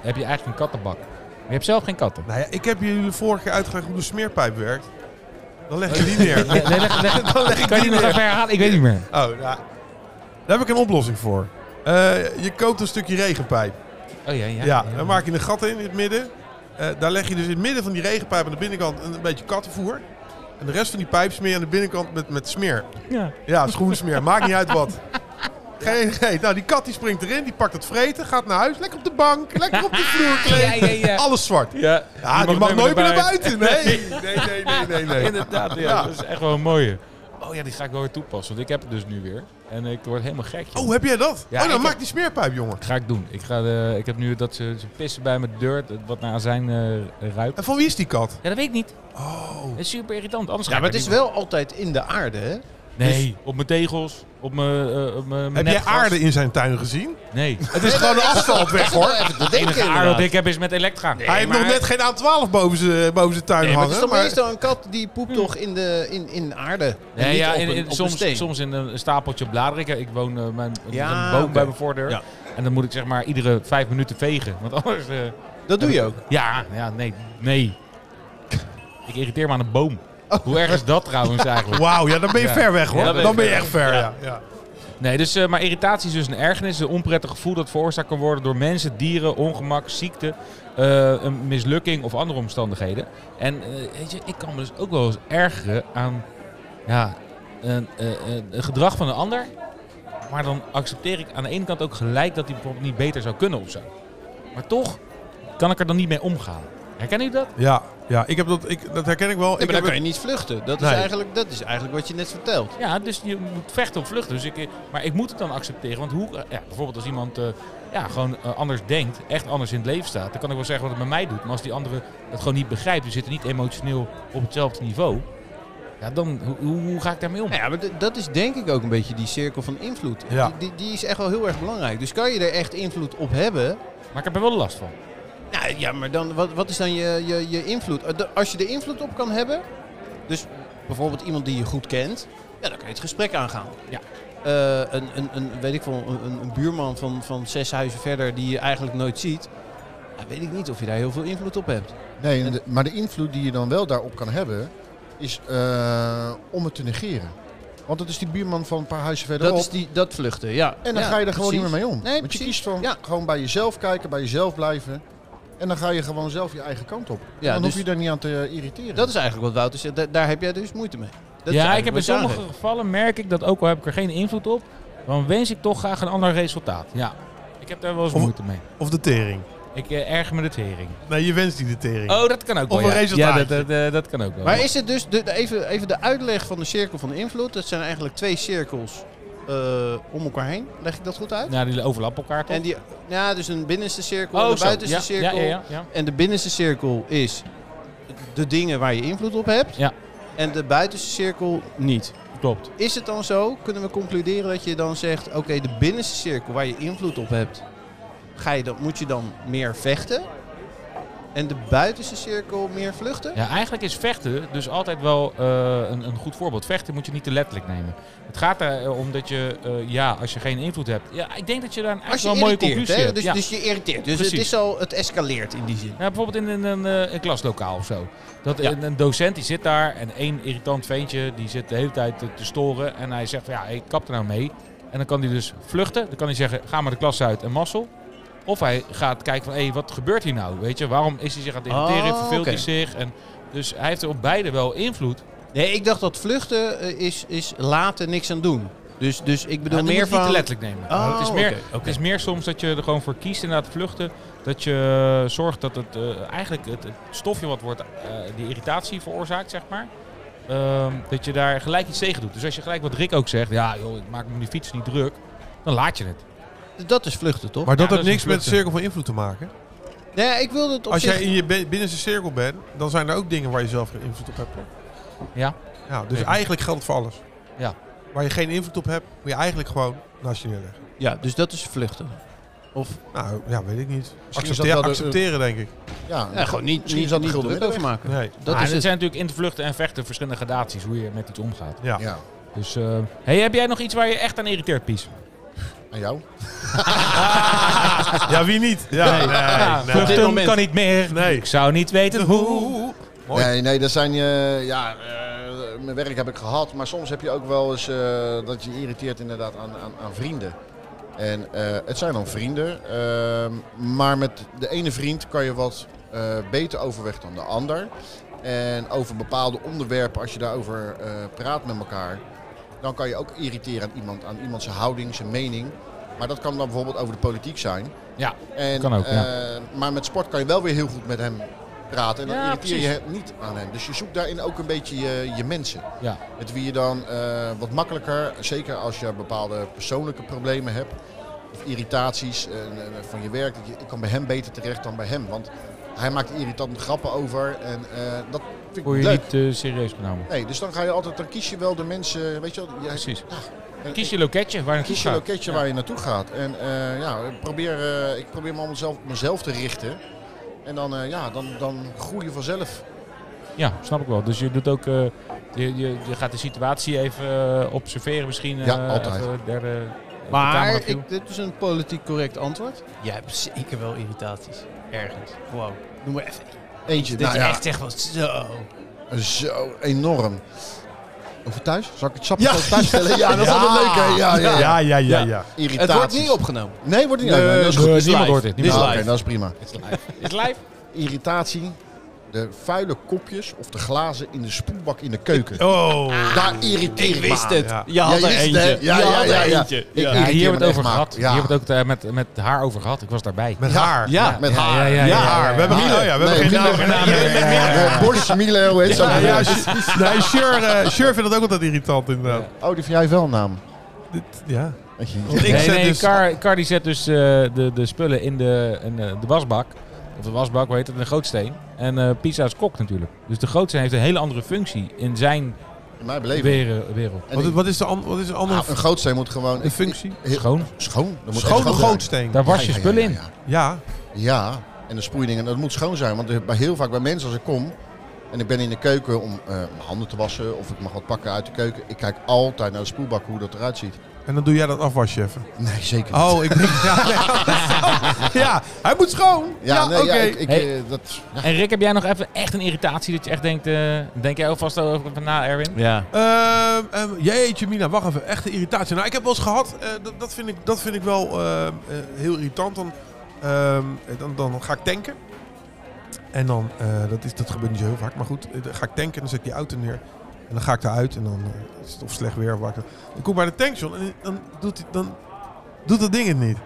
S1: heb je eigenlijk een kattenbak. Maar je hebt zelf geen katten.
S4: Nou ja, ik heb jullie vorige keer uitgelegd hoe de smeerpijp werkt. Dan leg je die neer.
S1: Nee, nee, leg- leg- kan je die nog even herhalen? Ik weet niet meer.
S4: Oh, nou, daar heb ik een oplossing voor. Eh, je koopt een stukje regenpijp.
S1: Oh ja, ja.
S4: Ja, dan maak je een gat in in het midden. Eh, daar leg je dus in het midden van die regenpijp aan de binnenkant een, een beetje kattenvoer. En de rest van die pijp smeer je aan de binnenkant met, met smeer.
S1: Ja.
S4: Ja, schoensmeer. Maakt niet uit wat. Geen, geen. Nou, die kat die springt erin, die pakt het vreten, gaat naar huis. Lekker op de bank, lekker op de vloer kleden.
S1: Ja, ja, ja.
S4: Alles zwart.
S1: Ja,
S4: Oh. Ja, die mag nooit meer naar buiten. Nee, nee, nee, nee, nee. nee.
S1: Inderdaad, ja, dat is echt wel een mooie. Oh ja, die ga ik wel weer toepassen, want ik heb het dus nu weer. En ik word helemaal gek. joh.
S4: Oh, heb jij dat?
S1: Ja,
S4: oh,
S1: ik
S4: dan
S1: heb-
S4: maak die smeerpijp, jongen.
S1: Ga ik doen. Ik, ga, eh, ik heb nu dat ze, ze pissen bij mijn deur, dat wat naar azijn eh ruikt.
S4: En van wie is die kat?
S1: Ja, dat weet ik niet. Oh. Dat is super irritant. Anders
S3: Ja,
S1: ga
S3: maar
S1: ik
S3: het is
S1: niet
S3: wel altijd in de aarde, hè?
S1: doen. Nee, op mijn tegels, op mijn eh, op mijn- mijn
S4: Heb jij
S1: netgras.
S4: aarde in zijn tuin gezien?
S1: Nee.
S4: Het is gewoon de asfalt weg, hoor.
S3: Even te
S1: Het
S3: denken,
S1: enige aarde dat
S3: inderdaad.
S1: ik heb is met elektra.
S4: Hij heeft nog net geen A12 boven zijn, boven zijn tuin
S3: Nee, maar
S4: hangen.
S3: het is toch
S4: maar-
S3: meestal een kat die poept toch in de, in, in de aarde. En
S1: Nee,
S3: niet
S1: ja,
S3: op
S1: in-
S3: een-
S1: in-
S3: op een steen.
S1: soms, soms in een stapeltje bladeren. Ik, ik woon eh, mijn, er is
S3: Ja,
S1: een boom
S3: oké.
S1: bij mijn voordeur.
S3: Ja.
S1: En dan moet ik zeg maar iedere vijf minuten vegen. Want anders... eh,
S3: Dat doe je ook.
S1: ja, ja, nee. Nee. Ik irriteer me aan een boom.
S3: Oh.
S1: Hoe erg is dat trouwens eigenlijk?
S4: Wauw, ja, dan ben je
S1: Ja.
S4: ver weg, hoor.
S1: Ja, dat
S4: dan
S1: ben
S4: ben
S1: je
S4: je echt ver, ja. ja.
S1: Nee, dus, eh, maar irritatie is dus een ergernis. Een onprettig gevoel dat veroorzaakt kan worden door mensen, dieren, ongemak, ziekte, eh, een mislukking of andere omstandigheden. En eh, weet je, ik kan me dus ook wel eens ergeren aan ja, een, eh, eh, een gedrag van een ander. Maar dan accepteer ik aan de ene kant ook gelijk dat hij bijvoorbeeld niet beter zou kunnen of zo. Maar toch kan ik er dan niet mee omgaan. Herken u dat?
S4: Ja, Ja, ik heb dat, ik, dat herken ik wel. ik
S3: Nee, maar dan
S4: heb
S3: kan je niet vluchten. Dat,
S4: Nee.
S3: is eigenlijk, dat is eigenlijk wat je net vertelt.
S1: Ja, dus je moet vechten op vluchten. Dus ik, eh, maar ik moet het dan accepteren. Want hoe, eh, ja, bijvoorbeeld als iemand eh, ja, gewoon eh, anders denkt, echt anders in het leven staat, dan kan ik wel zeggen wat het met mij doet. Maar als die andere het gewoon niet begrijpt, die zitten niet emotioneel op hetzelfde niveau, ja, dan hoe, hoe, hoe ga ik daarmee om?
S3: Nou ja, maar d- dat is denk ik ook een beetje die cirkel van invloed.
S4: Ja.
S3: Die, die, die is echt wel heel erg belangrijk. Dus kan je er echt invloed op hebben?
S1: Maar ik heb er wel last van.
S3: Nou ja, maar dan, wat, wat is dan je, je, je invloed? Eh, de- Als je er invloed op kan hebben, dus bijvoorbeeld iemand die je goed kent, ja, dan kan je het gesprek aangaan.
S1: Ja.
S3: Eh, een, een, een, weet ik veel, een, een buurman van, van zes huizen verder die je eigenlijk nooit ziet, ja, weet ik niet of je daar heel veel invloed op hebt.
S2: Nee, en de- maar de invloed die je dan wel daarop kan hebben, is eh, om het te negeren. Want dat is die buurman van een paar huizen verderop.
S3: Dat is die, dat vluchten, ja.
S2: En dan
S3: Ja,
S2: ga je er gewoon
S3: precies.
S2: niet meer mee om.
S3: Nee,
S2: Want je
S3: precies.
S2: kiest van
S3: Ja.
S2: gewoon bij jezelf kijken, bij jezelf blijven. En dan ga je gewoon zelf je eigen kant op.
S3: Ja,
S2: dan
S3: dus
S2: hoef je daar niet aan te irriteren.
S3: Dat is eigenlijk wat Wouter zegt. Da- daar heb jij dus moeite mee. Dat is
S1: ja, ik heb
S3: eigenlijk
S1: in
S3: wat je aangeeft.
S1: sommige gevallen merk ik dat ook al heb ik er geen invloed op, dan wens ik toch graag een ander resultaat. Ja, ik heb daar wel eens
S4: Of-
S1: moeite mee.
S4: Of de tering.
S1: Ik eh, erger me de tering.
S4: Nee, je wenst niet de tering.
S1: Oh, dat kan ook wel.
S4: Of een
S1: ja.
S4: resultaatje.
S1: Ja, dat, dat, eh, dat kan ook wel.
S3: Maar is het dus, de, de- even, even de uitleg van de cirkel van de invloed. Dat zijn eigenlijk twee cirkels eh, om elkaar heen. Leg ik dat goed uit?
S1: Nou, die overlappen elkaar toch?
S3: En die, ja, dus een binnenste cirkel en een
S1: Oh, zo.
S3: buitenste
S1: ja,
S3: cirkel.
S1: Ja, ja, ja.
S3: En de binnenste cirkel is de dingen waar je invloed op hebt.
S1: Ja.
S3: En de buitenste cirkel niet.
S1: Klopt.
S3: Is het dan zo, kunnen we concluderen dat je dan zegt... oké, de binnenste cirkel waar je invloed op hebt... Ga je dan, moet je dan meer vechten? En de buitenste cirkel meer vluchten?
S1: Ja, eigenlijk is vechten dus altijd wel eh, een, een goed voorbeeld. Vechten moet je niet te letterlijk nemen. Het gaat erom dat je, eh, ja, als je geen invloed hebt. Ja, ik denk dat je daar eigenlijk
S3: Als je
S1: wel een mooie
S3: irriteert,
S1: conclusie
S3: hè?
S1: hebt.
S3: Dus,
S1: ja.
S3: dus je irriteert. Dus het,
S1: Precies.
S3: is al, het escaleert in die zin.
S1: Ja, bijvoorbeeld in een, een, eh, een klaslokaal of zo. Dat
S3: Ja.
S1: een, een docent die zit daar en één irritant ventje die zit de hele tijd te, te storen. En hij zegt van ja, ik kap er nou mee. En dan kan hij dus vluchten. Dan kan hij zeggen ga maar de klas uit en mazzel. Of hij gaat kijken van hé, wat gebeurt hier nou? Weet je, waarom is hij zich aan het irriteren?
S3: Oh,
S1: Verveelt hij
S3: oké.
S1: zich? En dus hij heeft er op beide wel invloed.
S3: Nee, ik dacht dat vluchten eh, is, is laten niks aan doen. Dus, dus ik bedoel
S1: Ja, dat moet
S3: meer
S1: je niet
S3: van...
S1: te letterlijk nemen.
S3: Oh,
S1: het, is meer,
S3: oké, oké.
S1: het is meer soms dat je er gewoon voor kiest inderdaad vluchten. Dat je eh, zorgt dat het eh, eigenlijk het, het stofje wat wordt, eh, die irritatie veroorzaakt, zeg maar. ehm, dat je daar gelijk iets tegen doet. Dus als je gelijk wat Rick ook zegt, ja joh, ik maak me die fiets niet druk. Dan laat je het.
S3: Dat is vluchten, toch?
S4: Maar dat
S1: Ja, dat
S4: heeft
S1: is
S4: niks
S1: een
S4: met de
S1: vluchten.
S4: cirkel van invloed te maken.
S3: Nee, ik wilde het op
S4: Als
S3: zich...
S4: jij in je be- binnenste cirkel bent, dan zijn er ook dingen waar je zelf geen invloed op hebt. Toch?
S1: Ja.
S4: ja dus
S1: Zeker.
S4: eigenlijk geldt het voor alles.
S1: Ja.
S4: Waar je geen invloed op hebt, moet je eigenlijk gewoon naast je neerleggen.
S3: Ja, dus dat is vluchten. Of
S4: Nou, ja, weet ik niet.
S2: Misschien is dat
S4: Accepteer,
S2: wel de-
S4: accepteren, denk ik.
S2: Ja,
S3: ja, gewoon niet,
S2: Misschien
S3: niet,
S2: is dat de
S3: niet
S2: Gulden
S3: druk
S2: Middelweg.
S3: over maken.
S4: Nee.
S3: Dat
S1: Ah,
S3: is
S1: en
S3: het.
S1: er zijn natuurlijk in het vluchten en vechten verschillende gradaties hoe je met iets omgaat.
S4: Ja.
S2: ja.
S1: Dus eh, hey, heb jij nog iets waar je echt aan irriteert, Pies?
S2: Aan jou?
S4: Ja, wie niet? Ja, nee,
S1: Ja,
S4: nee,
S1: vluchten
S3: dit moment-
S1: kan niet meer.
S4: Nee.
S1: Ik zou niet weten hoe.
S4: Mooi.
S2: Nee, nee, dat zijn eh, ja, eh, mijn werk heb ik gehad, maar soms heb je ook wel eens eh, dat je je irriteert inderdaad aan, aan, aan vrienden. En eh, het zijn dan vrienden, ehm, maar met de ene vriend kan je wat eh, beter overweg dan de ander. En over bepaalde onderwerpen, als je daarover eh, praat met elkaar, dan kan je ook irriteren aan iemand, aan iemand zijn houding, zijn mening. Maar dat kan dan bijvoorbeeld over de politiek zijn.
S1: Ja,
S2: En,
S1: Kan ook, ja.
S2: eh, Maar met sport kan je wel weer heel goed met hem praten. En dan
S1: Ja,
S2: irriteer je hem niet aan hem. Dus je zoekt daarin ook een beetje je, je mensen.
S1: ja.
S2: Met wie je dan eh, wat makkelijker, zeker als je bepaalde persoonlijke problemen hebt. Of irritaties eh, eh, van je werk. Dat je, ik kan bij hem beter terecht dan bij hem. Want hij maakt irritante grappen over. En eh, dat vind ik
S1: Word je
S2: leuk.
S1: niet eh, serieus genomen.
S2: Nee, dus dan ga je altijd, dan kies je wel de mensen, weet je wel. jij-
S1: Precies.
S2: en-
S1: Kies je loketje waar naartoe
S2: Kies je
S1: gaat.
S2: loketje
S1: Ja.
S2: waar je naartoe gaat. En eh, ja, ik probeer, eh, ik probeer me allemaal zelf, mezelf te richten. En dan, eh, ja, dan, dan groei je vanzelf.
S1: Ja, snap ik wel. Dus je doet ook, eh, je, je, je gaat de situatie even eh, observeren misschien. eh,
S2: Ja, altijd.
S1: even derde, eh,
S3: Maar
S1: ik,
S3: ik, dit is een politiek correct antwoord. Jij hebt zeker wel irritaties. Ergens. Gewoon. Noem maar even.
S2: Eentje, nou ja,
S3: echt wel zo.
S2: zo enorm. Over thuis? Zal ik het sapje
S4: Ja.
S2: over thuis stellen? Ja, dat is altijd leuk hè. Ja, ja, ja.
S4: Ja, ja, ja, ja.
S2: Irritaties.
S3: Het wordt niet opgenomen.
S2: Nee, wordt niet. Nee, dat is goed.
S1: eh, niemand
S3: live.
S1: hoort dit.
S3: Dit is
S2: Nou,
S1: Niemand
S2: Oké,
S3: live.
S2: dat is prima.
S1: hoort dit. Is live?
S2: Irritatie. de vuile kopjes of de glazen in de spoelbak in de keuken.
S4: Oh.
S2: Daar irriteer ik,
S5: Ik
S2: me
S5: wist
S2: aan.
S5: het.
S4: Ja.
S5: Je had
S2: Ja,
S5: er
S2: je wist
S5: eentje.
S2: het, hè? Ja,
S5: Je
S2: ja,
S5: had er
S2: ja, ja.
S5: eentje.
S2: Ik-
S1: Ja,
S5: Ja.
S1: hier
S2: irriteer
S1: hebben
S2: me
S1: we het over
S2: echt maar.
S1: gehad.
S2: Ja.
S1: Hier hebben we het ook eh, met, met haar over gehad. Ik was daarbij.
S4: Met
S2: Ja.
S4: haar.
S5: Ja.
S2: Met
S1: Ja,
S2: haar.
S1: ja, ja, ja, ja.
S4: haar. We hebben geen,
S2: Miele.
S4: oh ja, we hebben geen
S2: Nee, Miele.
S4: naam. Geen naam. Nee, nee, nee.
S2: Eh, Boris, Miele, hoe heet ze ook
S4: Ja,
S2: alweer?
S4: ja, Sj- nee, Sjur, eh, Sjur vindt dat ook altijd irritant inderdaad.
S2: Oh, die vind jij wel een naam.
S4: Dit- Ja.
S2: Weet je,
S4: Want ik
S1: nee,
S4: zet
S1: nee,
S4: dus-
S1: Car, Car die zet dus eh, de, de spullen in de, in eh, de wasbak. Of de wasbak, hoe heet het? In de gootsteen. En eh Pisa is kok natuurlijk. Dus de gootsteen heeft een hele andere functie in zijn
S2: In mijn beleving.
S1: were- wereld.
S2: En
S4: Wat,
S2: ik-
S4: wat is de, an- wat is de andere
S2: Ah, een gootsteen moet gewoon...
S4: de functie?
S2: Heel-
S1: Schoon.
S2: Schoon. Dat moet echt
S4: Schone
S2: zijn.
S4: gootsteen.
S1: Daar was je
S2: Ja, ja,
S1: spullen
S2: ja,
S1: in.
S2: ja,
S4: Ja.
S2: ja. Ja, en de sproeidingen, dat moet schoon zijn. Want er- bij heel vaak bij mensen als ik kom... En ik ben in de keuken om eh, mijn handen te wassen of ik mag wat pakken uit de keuken. Ik kijk altijd naar de spoelbak hoe dat eruit ziet.
S4: En dan doe jij dat afwasje even.
S2: Nee, zeker niet.
S4: Oh, ik denk... Ja, nee. ja hij moet schoon. Ja,
S2: nee,
S4: oké.
S2: ik, ik,
S1: Hey.
S2: eh, dat, ja.
S1: En Rick, heb jij nog even echt een irritatie dat je echt denkt... eh, denk jij alvast over na, Erwin?
S5: Ja.
S4: Ehm, ehm, jeetje, Mina, wacht even. Echte irritatie. Nou, ik heb wel eens gehad, eh, dat, dat, vind ik, dat vind ik wel ehm, eh, heel irritant. Dan, ehm, eh, dan, dan ga ik tanken. En dan, eh, dat, is, dat gebeurt niet zo heel vaak, maar goed. eh, Dan ga ik tanken en dan zet ik die auto neer. En dan ga ik eruit en dan eh, is het of slecht weer of wakker. Ik kom bij de tankstation en dan doet, die- dan doet dat ding het niet.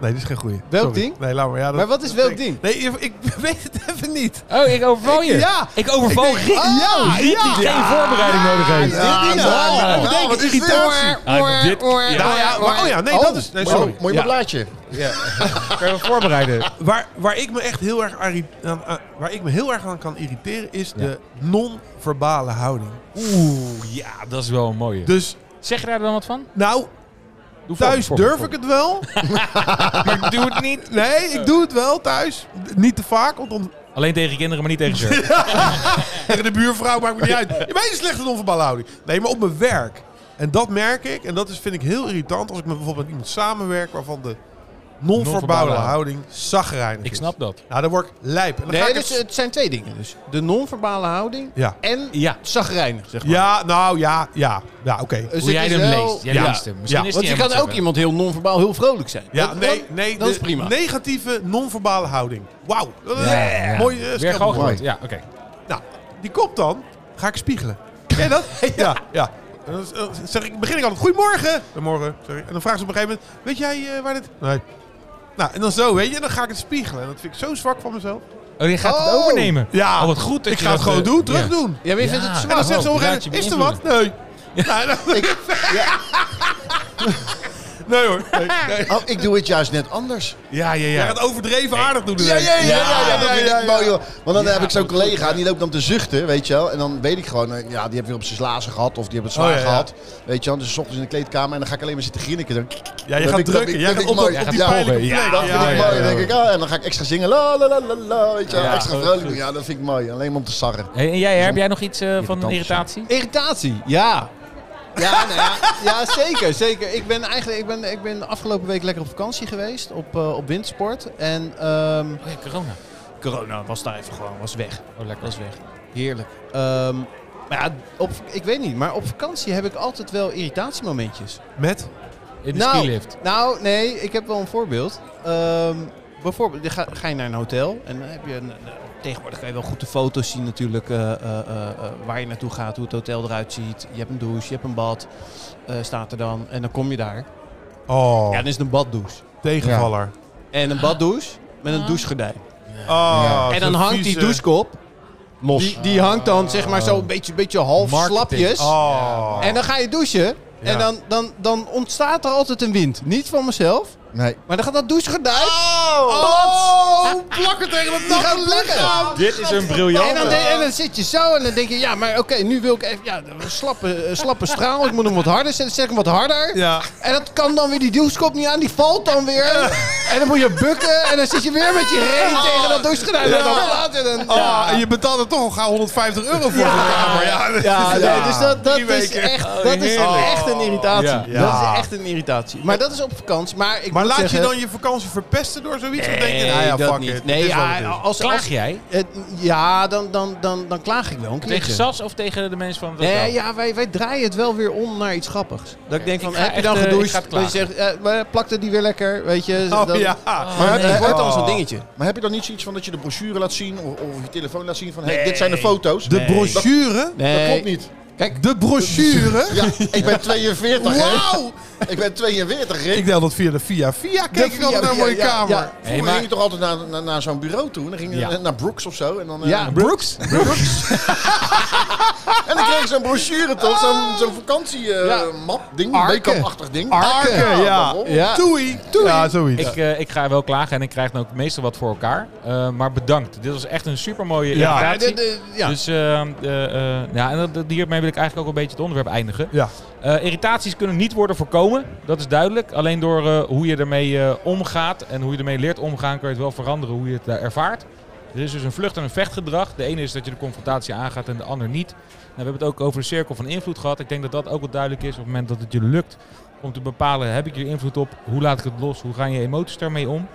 S4: Nee, dit is geen goeie.
S3: Welk
S4: Sorry.
S3: ding?
S4: Nee, laat maar. Ja, dat-
S3: Maar wat is
S4: dat
S3: welk
S4: ik-
S3: ding?
S4: Nee, ik, ik weet het even niet.
S1: Oh, ik overval je.
S4: Ja! ah.
S1: Ik overval Rick.
S3: ja,
S1: Rick die geen voorbereiding nodig heeft.
S2: Ja,
S3: dit niet.
S2: nou,
S3: Ja,
S4: Oh,
S2: nou,
S3: bedenk,
S2: wat is
S4: irritatie.
S2: dit?
S1: Ah, dit,
S4: Nou ja, maar, oh ja, nee,
S2: Oh,
S4: dat is... Nee, sorry.
S2: Mooi
S1: Ja.
S2: blaadje.
S1: kan je wel voorbereiden.
S4: Waar, waar, ik me echt heel erg arri- aan, aan- waar ik me heel erg aan kan irriteren is
S1: Ja.
S4: de non-verbale houding.
S1: Oeh, ja, dat is wel een mooie.
S4: Dus
S1: Zeg je daar dan wat van?
S4: nou,
S1: Doe voor,
S4: thuis
S1: voor,
S4: durf
S1: voor.
S4: ik het wel.
S1: Maar ik doe het niet.
S4: Nee, ik doe het wel thuis. D- Niet te vaak, want dan-
S1: Alleen tegen kinderen, maar niet tegen ze.
S4: tegen de buurvrouw maakt me niet uit. Je bent een slechte non-verbale houding. Nee, maar op mijn werk. En dat merk ik. En dat is, vind ik heel irritant als ik met bijvoorbeeld met iemand samenwerk waarvan de non-verbale
S1: Non-verbale
S4: houding zagrijnig
S1: ik
S4: is.
S1: snap dat.
S4: Nou, dan word ik lijp. En dan ga
S3: Nee,
S4: ik
S3: dus,
S4: het-
S3: het zijn twee dingen dus. De non-verbale houding
S4: Ja.
S3: en
S1: Ja.
S3: zagrijnig, zeg maar.
S4: Ja, nou ja, ja. Ja, oké.
S3: Dus
S1: Hoe
S3: het
S1: jij
S3: is
S1: hem
S3: wel-
S1: leest. Jij
S4: Ja.
S1: leest hem. Misschien
S4: Ja.
S1: is
S3: Want
S1: die
S3: je
S1: helemaal
S3: kan ook
S1: zo.
S3: iemand heel non-verbaal heel vrolijk zijn.
S4: Ja,
S3: Dat-
S4: nee,
S3: dat-
S4: nee.
S3: Dat
S4: de
S3: is prima.
S4: Negatieve, non-verbale houding. Wauw.
S1: Ja.
S4: Mooi eh,
S1: Weer gewoon
S4: stelwoord.
S1: gehoord. Ja, oké.
S4: Nou, die komt dan. Ga ik spiegelen. Ken je dat? ja. ja. En dan eh, zeg ik, begin ik altijd, goedemorgen. Goedemorgen, sorry. En dan vragen ze op een gegeven moment, weet jij eh, waar dit... Nee. Nou, en dan zo, weet je. En dan ga ik het spiegelen. En dat vind ik zo zwak van mezelf.
S1: Oh, die gaat het
S3: Oh.
S1: overnemen.
S4: Ja.
S1: Oh, wat goed dat
S4: ik
S1: je
S4: ga het
S1: dat,
S4: gewoon
S1: eh,
S4: doen, terug
S1: ja.
S4: doen.
S3: Ja, maar je vindt
S1: Ja. oh,
S3: het
S4: En
S3: zwaar.
S4: dan zegt ze op een
S1: Laat
S4: gegeven moment, is
S1: je
S4: er wat? Nee. Nou, dan- Nee hoor. Nee, nee.
S2: Oh, ik doe het juist net anders.
S1: Ja, ja,
S4: Jij
S1: ja.
S4: gaat overdreven aardig doen.
S2: Ja,
S4: ineens.
S2: ja, ja, ja, ja,
S4: Ja,
S2: dat vind
S4: ja,
S2: ik mooi, joh. Want dan heb ik zo'n collega, die loopt dan te zuchten, weet je wel. En dan weet ik gewoon, eh, ja, die heeft weer op zijn slazen gehad of die hebben het zwaar
S4: Oh, ja, ja.
S2: gehad. Weet je wel, dus 's ochtends in de kleedkamer en dan ga ik alleen maar zitten grinniken. Dan,
S4: Ja, je
S2: Dat
S4: gaat
S2: vind ik-
S4: drukken.
S2: dat
S4: Jij gaat
S2: vind ik
S4: op, dat-
S2: mooi.
S4: op
S1: Jij
S4: die
S1: gaat
S4: pijnlijke
S1: pogen. Ja,
S4: plek.
S2: dat vind ik
S1: ja,
S2: mooi,
S1: ja,
S2: denk ik. ah, en dan ga ik extra zingen, la la la la la, weet je wel.
S1: Ja,
S2: extra
S1: goed,
S2: vrolijk
S1: goed.
S2: doen. Ja, dat vind ik mooi. Alleen maar om te sarren.
S1: Hey, en jij, heb jij nog iets eh, van een
S2: Irritant.
S1: irritatie?
S3: Irritatie, ja. Ja, nou ja, ja, zeker, zeker. Ik ben eigenlijk, ik ben, ik ben afgelopen week lekker op vakantie geweest op, eh, op windsport. En ehm,
S1: Oh ja, corona.
S3: corona was daar even gewoon, was weg.
S1: Oh, lekker.
S3: was weg. Heerlijk. Ehm, maar ja, op, ik weet niet, maar op vakantie heb ik altijd wel irritatiemomentjes.
S4: Met?
S1: In de
S3: nou,
S1: skilift.
S3: Nou, nee, ik heb wel een voorbeeld. Ehm, bijvoorbeeld, je ga, ga je naar een hotel en dan heb je een, een- tegenwoordig kan je wel goed de foto's zien natuurlijk, eh, eh, eh, eh, waar je naartoe gaat, hoe het hotel eruit ziet. Je hebt een douche, je hebt een bad, eh, staat er dan en dan kom je daar.
S4: Oh,
S3: Ja, dan is het een baddouche.
S4: tegenvaller.
S3: En een baddouche met een douchegordijn.
S4: Oh,
S3: En dan
S4: zo'n
S3: hangt die
S4: vieze- Ah.
S3: douchekop los. Die, die hangt dan zeg maar zo een beetje, beetje half
S1: Marketing.
S3: slapjes.
S4: Oh.
S3: En dan ga je douchen.
S4: Ja.
S3: En dan, dan, dan ontstaat er altijd een wind. Niet van mezelf,
S2: Nee.
S3: maar dan gaat dat douchegordijn.
S2: Oh, plakken tegen het
S3: Die gaan lekker.
S1: Dit is een
S3: En dan, de-
S1: briljante.
S3: en dan zit je zo en dan denk je, ja, maar oké, nu wil ik even, ja, een slappe, eh, slappe straal, ik moet hem wat harder zetten, zet ik hem wat harder.
S4: Ja.
S3: En dat kan dan weer die duwskop niet aan, die valt dan weer. En dan moet je bukken en dan zit je weer met je reet tegen dat douchegordijn. En dan
S4: Ja.
S3: later dan,
S4: Oh, en je betaalt er toch al gauw 150 euro voor. Ja, maar ja. ja.
S3: Ja, nee, dus dat, dat
S4: Drie
S3: is,
S4: weken. Oh,
S3: echt, dat is
S4: heerlijk.
S3: echt een irritatie.
S1: Ja.
S4: Ja.
S3: Dat is echt een irritatie. Maar dat is op vakantie. Maar, ik
S4: Maar
S3: moet
S4: laat je
S3: zeggen-
S4: dan je vakantie verpesten door zoiets? Of denk je,
S3: Nee,
S4: nou ja, fuck
S3: dat dat
S4: it,
S3: niet.
S4: het
S3: Nee,
S4: is wat
S3: ja,
S4: het is.
S3: als,
S1: Klaag
S3: als,
S1: jij
S3: het, ja dan, dan, dan, dan klaag ik wel een
S1: tegen
S3: keertje.
S1: SAS of tegen de mensen van...
S3: Nee, ja, wij, wij draaien het wel weer om naar iets grappigs. Dat ik denk van,
S1: Ik ga
S3: heb je
S1: echt,
S3: dan
S1: eh, ik
S3: gedoucht?
S1: ga het
S3: dat je zegt, eh, we plakten die weer lekker, weet je. dus
S4: Oh
S3: dan- Eh,
S4: ja.
S3: Maar
S2: nee.
S3: het wordt al zo'n
S4: Oh.
S3: dingetje.
S2: eh, Maar heb je dan niet zoiets van dat je de brochure laat zien of, of je telefoon laat zien van hey,
S1: Nee.
S2: dit zijn de foto's?
S4: De
S2: Dat-
S4: brochure?
S2: Dat
S3: Nee.
S2: klopt niet.
S3: Kijk,
S4: De brochure?
S2: Ja, ik ben 42 hè.
S4: Wauw!
S2: Ik ben 42 Rick.
S4: Ik deel dat via de Via Via. Kijk ik
S2: via-
S4: altijd naar
S2: via-
S4: mijn
S2: ja,
S4: kamer.
S3: ja.
S2: Vroeger
S1: Hey, maar-
S2: ging je toch altijd naar, naar, naar zo'n bureau toe. en Dan ging je
S1: Ja.
S2: naar Brooks of zo. En dan, eh,
S3: ja, Brooks.
S2: en dan kreeg je zo'n brochure toch? Zo'n
S4: Ah!
S2: zo'n
S3: Ja.
S2: vakantiemap ding.
S3: Arken.
S2: Weekendachtig ding.
S4: Arken, ja.
S2: waarom?
S3: Ja.
S4: Toei. Ja, zoiets.
S1: Ik, eh, ik ga wel klagen en ik krijg dan ook meestal wat voor elkaar. Eh, maar bedankt. Dit was echt een supermooie
S4: Ja.
S1: irritatie.
S3: Ja, dit- dit- ja.
S1: Dus eh, eh, eh, ja, en dat- dat, hiermee wil ik eigenlijk ook wel een beetje het onderwerp eindigen.
S4: ja.
S1: Eh, irritaties kunnen niet worden voorkomen, dat is duidelijk. Alleen door eh, hoe je ermee eh, omgaat en hoe je ermee leert omgaan, kun je het wel veranderen hoe je het eh, ervaart. Er is dus een vlucht- en een vechtgedrag. De ene is dat je de confrontatie aangaat en de ander niet. Nou, we hebben het ook over de cirkel van invloed gehad. Ik denk dat dat ook wel duidelijk is op het moment dat het je lukt om te bepalen, heb ik hier invloed op? Hoe laat ik het los? Hoe gaan je emoties daarmee om?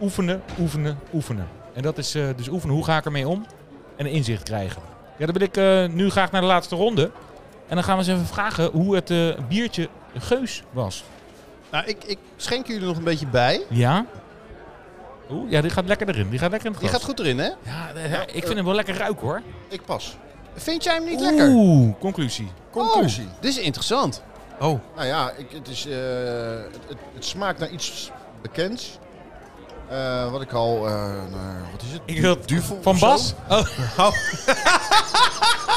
S1: Oefenen, oefenen, oefenen. En dat is eh, dus oefenen, hoe ga ik ermee om? En een inzicht krijgen. Ja, dan wil ik eh, nu graag naar de laatste ronde. En dan gaan we eens even vragen hoe het eh, biertje Geus was.
S3: Nou, ik, ik schenk jullie nog een beetje bij.
S1: Ja? Oeh, ja, die gaat lekker erin. Die gaat lekker in het
S3: Die
S1: glas.
S3: gaat goed erin, hè?
S1: Ja, eh, ik vind hem wel lekker ruiken hoor.
S2: Ik pas.
S3: Vind jij hem niet lekker?
S1: Oeh, conclusie.
S2: Conclusie.
S3: Oh, dit is interessant.
S4: Oh,
S2: Nou ja, ik, het, is, eh, het, het, het smaakt naar iets bekends. Eh, wat ik al... eh, naar- wat is het?
S1: Ik wil
S2: Duvel
S1: Van
S2: of zo?
S1: Bas? Oh.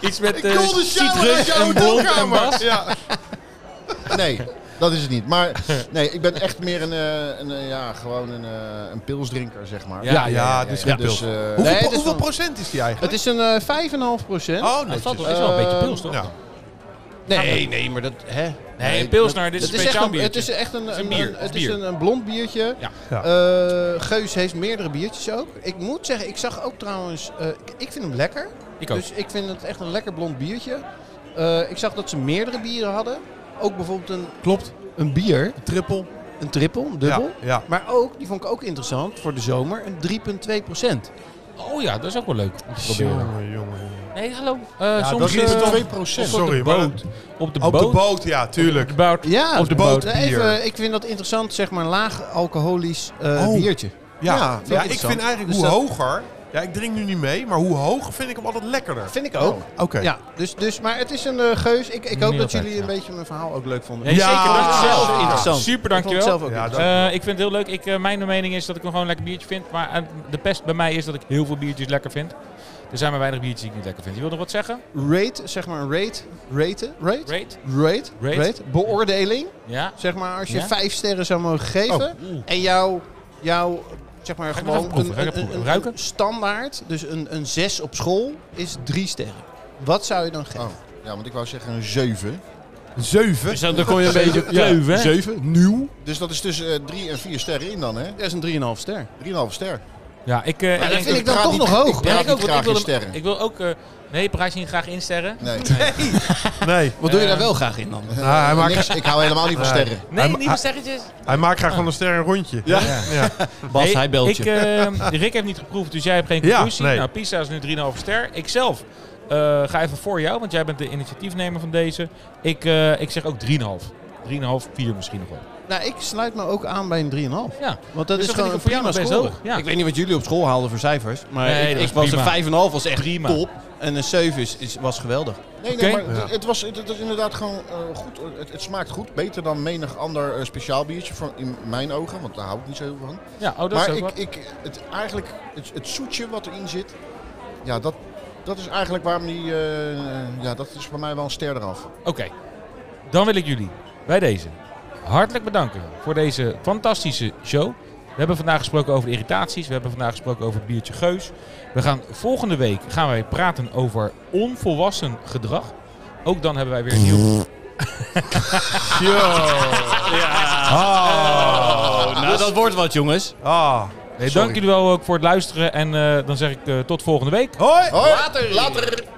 S1: Iets met eh,
S2: wilde shower in
S1: citrus
S2: jouw
S1: en blond en
S2: hotelkamer.
S1: Bas.
S4: ja.
S2: Nee, dat is het niet. Maar nee, ik ben echt meer een, eh, een, eh, ja, gewoon een, eh, een pilsdrinker, zeg maar.
S1: Ja, ja,
S4: ja, dus goed
S2: dus, eh,
S4: Hoeveel,
S3: Nee, het is
S4: hoeveel
S3: wel-
S4: procent is die eigenlijk?
S3: Het is een eh 5,5 procent.
S4: oh,
S1: Het valt
S4: netjes.
S1: wel- is wel een beetje
S2: Ehm,
S1: pils toch?
S4: Ja.
S3: nee, nee, maar dat... Hè?
S1: Nee, een pilsner, dit is
S3: Het
S1: een
S3: is, echt
S1: speciaal
S3: een,
S1: biertje.
S3: het is echt een,
S1: een
S3: een,
S1: bier,
S3: een-
S1: het
S3: het
S1: is
S3: is
S1: bier.
S3: een, een blond biertje.
S1: Ja.
S4: Ja.
S3: Eh, Geus heeft meerdere biertjes ook. Ik moet zeggen, ik zag ook trouwens... eh, ik, ik vind hem lekker.
S1: Ik ook.
S3: Dus ik vind het echt een lekker blond biertje. Eh, ik zag dat ze meerdere bieren hadden. Ook bijvoorbeeld een,
S4: Klopt.
S3: een bier.
S4: Trippel.
S3: Een trippel, een dubbel.
S4: Ja, ja.
S3: Maar ook, die vond ik ook interessant voor de zomer, een 3,2 procent.
S1: Oh ja, dat is ook wel leuk om te proberen.
S4: Jongen, jongen, jongen.
S1: Nee, hallo. Eh,
S4: dat
S1: soms
S4: is
S1: eh,
S4: toch-
S1: op
S4: Sorry,
S1: de
S4: maar
S1: boot. Op de
S4: op de
S1: boot.
S4: boot, ja, tuurlijk.
S1: boot.
S3: Ja,
S1: Op de
S4: boot
S3: Nee,
S4: bier.
S3: Even, ik vind dat interessant, zeg maar, een laag alcoholisch eh,
S4: Oh.
S3: biertje.
S4: Ja,
S3: Ja,
S4: ja,
S3: vind ik
S4: ik
S3: interessant.
S4: vind eigenlijk
S3: Dus
S4: hoe
S3: dat-
S4: hoger... Ja, ik drink nu niet mee, maar hoe hoog vind ik hem altijd lekkerder.
S3: Vind ik ook.
S2: Oh.
S4: Oké.
S3: Ja, dus, dus, maar het is een eh, geus. Ik, ik hoop
S1: Niet altijd,
S3: dat jullie
S1: ja.
S3: een beetje mijn verhaal Oh, ook leuk
S1: Ja,
S3: vonden.
S1: zeker.
S4: Ja.
S1: Dat is
S3: zelf
S1: zelf
S3: interessant.
S1: Super,
S3: Ik vond het
S1: dankjewel.
S3: zelf ook
S4: Ja,
S3: interessant.
S1: Eh, ik vind het heel leuk. Ik, eh, mijn mening is dat ik hem gewoon lekker biertje vind. Maar eh, de pest bij mij is dat ik heel veel biertjes lekker vind. Er zijn maar weinig biertjes die ik niet lekker vind. Je wil nog wat zeggen?
S3: rate, zeg maar, een rate, raten, rate,
S1: Great.
S3: rate,
S1: Rate.
S3: rate, beoordeling.
S1: Ja.
S3: Zeg maar, als je
S1: Ja?
S3: vijf sterren zou mogen geven
S1: Oh, oeh.
S3: en jouw, jouw zeg maar,
S1: Ga ik nog
S3: gewoon
S1: even proeven, ga ik
S3: een,
S1: even
S3: een-
S1: proeven. Ruiken?
S3: een standaard, dus een, een zes op school, is drie sterren. Wat zou je dan geven?
S2: Oh, ja, want ik wou zeggen een 7.
S4: Zeven.
S1: Dus dan dan kom je een beetje op kleuven, hè?
S4: Zeven. Nieuw.
S2: Dus dat is tussen 3 en 4 sterren in dan, hè? 3,5
S3: Dat is een 3,5 ster.
S2: ster.
S1: Ja, ik... eh,
S3: dat
S1: ik-
S3: vind ik dan
S2: praat
S3: toch
S2: niet-
S3: nog hoog.
S2: Ik praat
S1: Ja,
S2: niet
S1: want
S2: graag
S1: wil
S2: in
S1: hem-
S2: sterren.
S1: Ik wil ook... eh, nee, praat je niet graag in sterren?
S2: Nee.
S4: Nee.
S3: Wat doe je
S1: Eh,
S3: daar wel graag in dan?
S4: Nou, hij, maakt,
S2: Niks, ik hou helemaal niet van
S4: Nee.
S2: sterren.
S1: Nee,
S4: Hij-
S1: niet meer sterretjes.
S4: hij maakt graag van een ster een rondje. Ja. ja.
S3: Bas,
S1: Nee,
S3: hij belt
S1: ik,
S3: je.
S1: eh, Rick heeft niet geproefd, dus jij hebt geen
S4: Ja,
S1: conclusie.
S4: nee.
S1: Nou, Pisa is nu 3,5 ster. Ik zelf eh, ga even voor jou, want jij bent de initiatiefnemer van deze. Ik, eh, ik zeg ook 3,5. 3,5, 4 misschien nog wel.
S3: nou, ik sluit me ook aan bij een 3,5.
S1: Ja.
S3: Want
S1: Dus dat
S3: dat is
S1: vind
S3: gewoon
S1: ik
S3: een
S1: voor jou
S3: prima
S1: nog best
S3: score.
S1: hoog, ja.
S3: Ik weet niet wat jullie op school haalden voor cijfers. Maar
S1: Nee,
S3: ik,
S1: dat
S3: ik
S1: is
S3: was
S1: prima.
S3: een 5,5 was echt
S1: Prima.
S3: top. En een 7 is, is, was geweldig.
S2: Nee,
S1: Oké.
S2: nee, maar
S4: Ja.
S2: het- het, was, het, het is inderdaad gewoon eh, goed. Het, het smaakt goed. Beter dan menig ander eh, speciaal biertje, van, in mijn ogen. Want daar hou ik niet zo heel veel van.
S1: Ja, oh, dat is
S2: maar
S1: ook
S2: ik,
S1: wat.
S2: ik, het, eigenlijk, het, het zoetje wat erin zit, ja, dat, dat is eigenlijk waarom die, eh, ja, dat is voor mij wel een ster eraf.
S1: Oké, dan wil ik jullie bij deze hartelijk bedanken voor deze fantastische show. We hebben vandaag gesproken over de irritaties. We hebben vandaag gesproken over het biertje geus. We gaan volgende week gaan wij praten over onvolwassen gedrag. Ook dan hebben wij weer een
S2: Mm,
S1: nieuw.
S3: nou, dat wordt wat, jongens.
S4: Ah.
S1: Nee, dank jullie wel ook voor het luisteren. En eh, dan zeg ik eh, tot volgende week.
S4: Hoi.
S2: Later! Later!